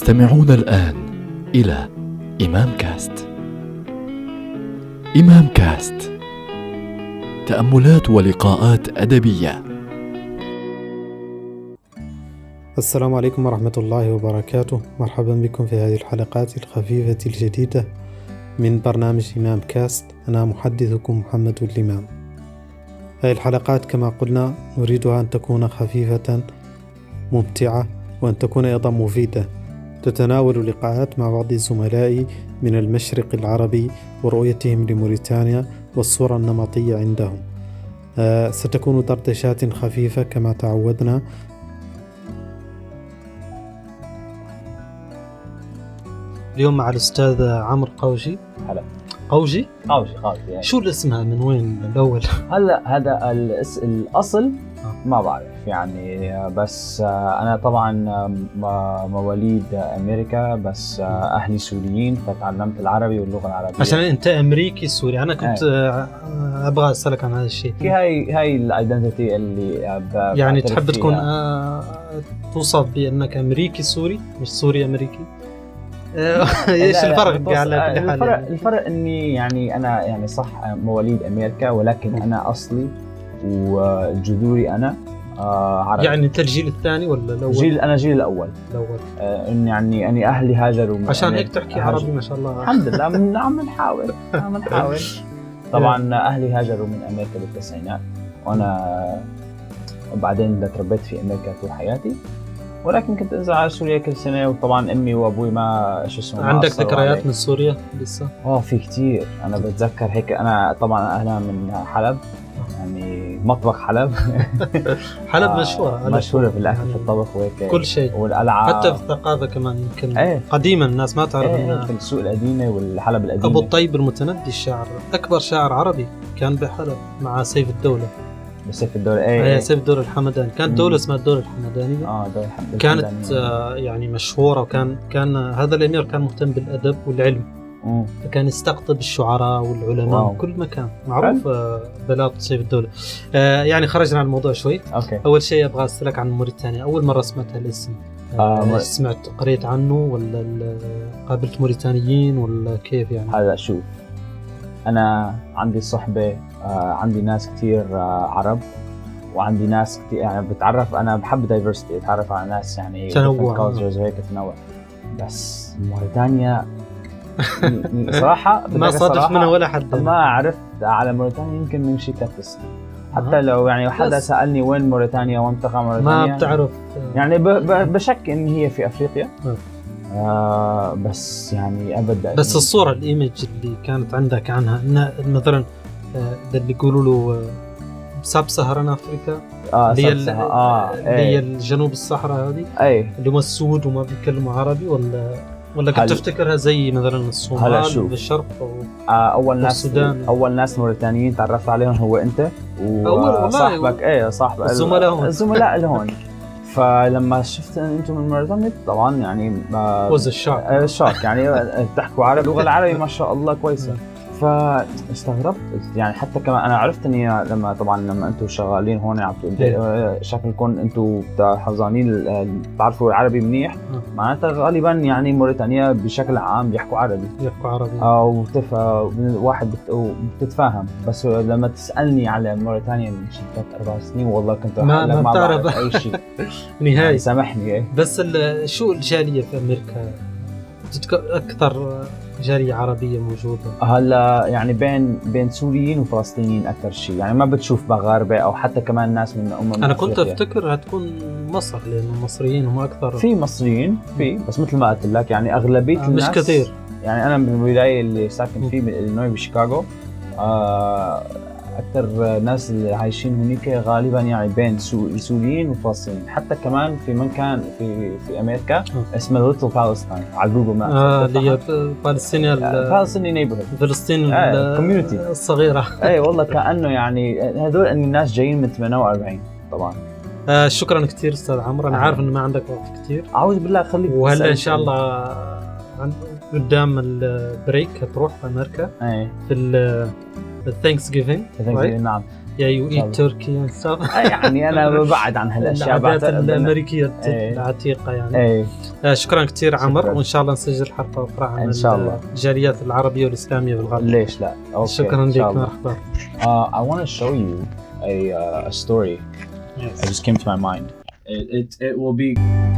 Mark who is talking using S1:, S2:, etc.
S1: تستمعون الآن إلى إمام كاست. إمام كاست تأملات ولقاءات أدبية.
S2: السلام عليكم ورحمة الله وبركاته مرحبا بكم في هذه الحلقات الخفيفة الجديدة من برنامج إمام كاست أنا محدثكم محمد الإمام هذه الحلقات كما قلنا نريدها أن تكون خفيفة ممتعة وأن تكون أيضا مفيدة تتناول لقاءات مع بعض الزملاء من المشرق العربي ورؤيتهم لموريتانيا والصورة النمطية عندهم آه، ستكون دردشات خفيفة كما تعودنا اليوم مع الأستاذ عمرو قوجي
S3: هلا.
S2: قوجي
S3: قوشي قوشي يعني.
S2: شو اللي اسمها من وين الأول
S3: هلا هذا الاس... الاصل
S2: آه.
S3: ما بعرف يعني بس آه، انا طبعا آه، م- مواليد امريكا بس آه، اهلي سوريين فتعلمت العربي واللغه العربيه
S2: عشان أنت أمريكي سوري أنا كنت آه، أبغى أسألك عن هذا الشيء
S3: في هاي هاي الايدنتيتي اللي آه، ب-
S2: يعني
S3: بعترف
S2: تحب
S3: فيها.
S2: تكون آه توصف بانك امريكي سوري مش سوري امريكي آه،
S3: لا،
S2: ايش
S3: لا،
S2: الفرق
S3: بتوص-
S2: على كل حال
S3: الفرق
S2: يعني؟
S3: الفرق اني يعني انا يعني صح مواليد امريكا ولكن
S2: م.
S3: انا اصلي وجذوري انا آه، عربي
S2: يعني انت الجيل الثاني ولا الاول؟
S3: جيل انا جيل الاول
S2: الاول
S3: آه، ان يعني اني اهلي هاجروا من
S2: عشان هيك
S3: أمريكا.
S2: تحكي
S3: هاجروا-
S2: عربي ما شاء الله
S3: الحمد لله من عم نحاول عم نحاول طبعا اهلي هاجروا من امريكا بالتسعينات وانا بعدين تربيت في امريكا طول حياتي ولكن كنت انزل على سوريا كل سنه وطبعا امي وابوي ما شو اسمه ما
S2: عندك
S3: أثروا
S2: ذكريات
S3: علي.
S2: من سوريا لسه؟
S3: اه في كثير انا بتذكر هيك انا طبعا انا من حلب يعني مطبخ حلب
S2: حلب
S3: آه،
S2: مشهوره حلب
S3: مشهوره بالاكل
S2: يعني
S3: في الطبخ وهيك
S2: كل شيء
S3: والقلعه
S2: حتى في الثقافه كمان يمكن
S3: آه. إيه.
S2: قديما الناس ما تعرف
S3: إيه،
S2: ان
S3: في السوق القديمه والحلب القديمه
S2: ابو الطيب المتندي الشاعر اكبر شاعر عربي كان بحلب مع سيف الدوله
S3: بسيف الدولة ايه
S2: آه، سيف الدوله الحمداني كانت
S3: مم.
S2: دوله اسمها الدوله الحمدانيه
S3: اه دولة الحمد
S2: كانت آه، يعني مشهوره وكان كان آه، هذا الامير كان مهتم بالادب والعلم
S3: مم.
S2: فكان يستقطب الشعراء والعلماء
S3: واو.
S2: من كل مكان معروف آه، بلاط سيف الدوله آه، يعني خرجنا عن الموضوع شوي
S3: اوكي
S2: اول شيء ابغى اسالك عن موريتانيا اول مره سمعت الاسم
S3: آه،
S2: آه
S3: مور-
S2: سمعت قريت عنه ولا ال- قابلت موريتانيين ولا كيف يعني
S3: هلا شوف انا عندي صحبه آه عندي ناس كثير آه عرب وعندي ناس كثير يعني بتعرف انا بحب دايفرستي اتعرف على ناس يعني
S2: تنوع.
S3: كالتشرز وهيك تنوع بس موريتانيا م- م- صراحه
S2: ما
S3: بدك
S2: صادف
S3: صراحة،
S2: منها ولا حد
S3: ما عرفت على موريتانيا يمكن من شي ثلاث سنين حتى لو يعني حدا
S2: بس.
S3: سالني وين موريتانيا ومنطقه موريتانيا
S2: ما بتعرف آه،
S3: يعني ب- ب- بشك ان هي في افريقيا
S2: نعم.
S3: آه بس يعني ابدا
S2: بس الصوره الايمج اللي كانت عندك عنها انها مثلا آه، ده اللي يقولوا له آه، ساب سهران افريكا
S3: آه
S2: اللي هي ال-
S3: صلصة، اه
S2: اللي هي
S3: ايه
S2: الجنوب الصحراء هذه
S3: ايه
S2: اللي هم السود وما بيتكلموا عربي ولا ولا كنت
S3: هل-
S2: تفتكرها زي مثلا
S3: هلا
S2: الصومال
S3: شوف.
S2: بالشرق أو
S3: آه اول ناس
S2: والسودان.
S3: اول ناس موريتانيين تعرفت عليهم هو انت
S2: أول والله.
S3: وصاحبك ايه صاحبك
S2: الزملاء هون.
S3: الزملاء اللي هون فلما شفت ان انتم من موريتانيا طبعا يعني آه
S2: وز الشعب
S3: آه، شاك يعني بتحكوا عربي اللغه العربي ما شاء الله كويسه فاستغربت يعني حتى كمان انا عرفت اني لما طبعا لما انتم شغالين هون عم
S2: إيه.
S3: تقولوا آه، شكلكم انتم حفظانين ال- ال- بتعرفوا العربي منيح
S2: آه.
S3: معناتها غالبا يعني موريتانيا بشكل عام بيحكوا عربي
S2: يحكوا عربي
S3: او بتف... واحد بت... بتتفاهم بس لما تسالني على موريتانيا من شي ثلاث اربع سنين والله كنت رح
S2: ما-
S3: أقول لك
S2: ما بتعرف.
S3: بعرف اي شيء
S2: نهاية
S3: يعني سامحني إيه.
S2: بس ال- شو الجاليه في امريكا تتك- اكثر جاليه عربيه موجوده
S3: هلا يعني بين بين سوريين وفلسطينيين اكثر شيء يعني ما بتشوف مغاربه او حتى كمان ناس من امم
S2: انا كنت
S3: أفريقيا.
S2: افتكر هتكون مصر لان المصريين هم اكثر
S3: في مصريين في بس مثل ما قلت لك يعني اغلبيه
S2: آه، مش
S3: الناس
S2: كثير
S3: يعني انا من الولايه اللي ساكن
S2: مم.
S3: فيه من الينوي بشيكاغو آه اكثر ناس اللي عايشين هناك غالبا يعني بين سو- سوريين وفلسطينيين حتى كمان في مكان في في امريكا اسمه ليتل بالستاين على جوجل مابس
S2: آه، اللي هي فلسطينيا
S3: فلسطيني نيبرهود
S2: فلسطين
S3: يعني.
S2: ال-
S3: آه، community.
S2: الصغيره
S3: اي إيه، والله كانه يعني هذول إن الناس جايين من 48 طبعا
S2: آه، شكرا كثير استاذ عمرو انا
S3: آه.
S2: عارف ان ما عندك وقت كثير
S3: اعوذ بالله خليك
S2: وهلا
S3: تسأل
S2: ان شاء
S3: سؤال.
S2: الله عند- قدام البريك هتروح امريكا
S3: ايه
S2: في الثانكس جيفينج
S3: تhanks very- نعم
S2: يا يو
S3: شاء
S2: ايت
S3: الله.
S2: تركي اند ستاف
S3: إيه، يعني انا ببعد عن هالاشياء
S2: العادات
S3: بعتقد إنه-
S2: الامريكيه
S3: إيه.
S2: العتيقه يعني
S3: ايه
S2: آه، شكرا كثير عمر
S3: شكراً.
S2: وان شاء الله نسجل حلقه اخرى عن
S3: إن شاء الله.
S2: الجاليات العربيه والاسلاميه بالغرب
S3: ليش لا أوكي.
S2: شكرا
S3: إن
S2: لك
S3: شاء الله.
S2: مرحبا
S3: Uh, I want to show you a, uh, a story that just came to my mind. It, it, it will be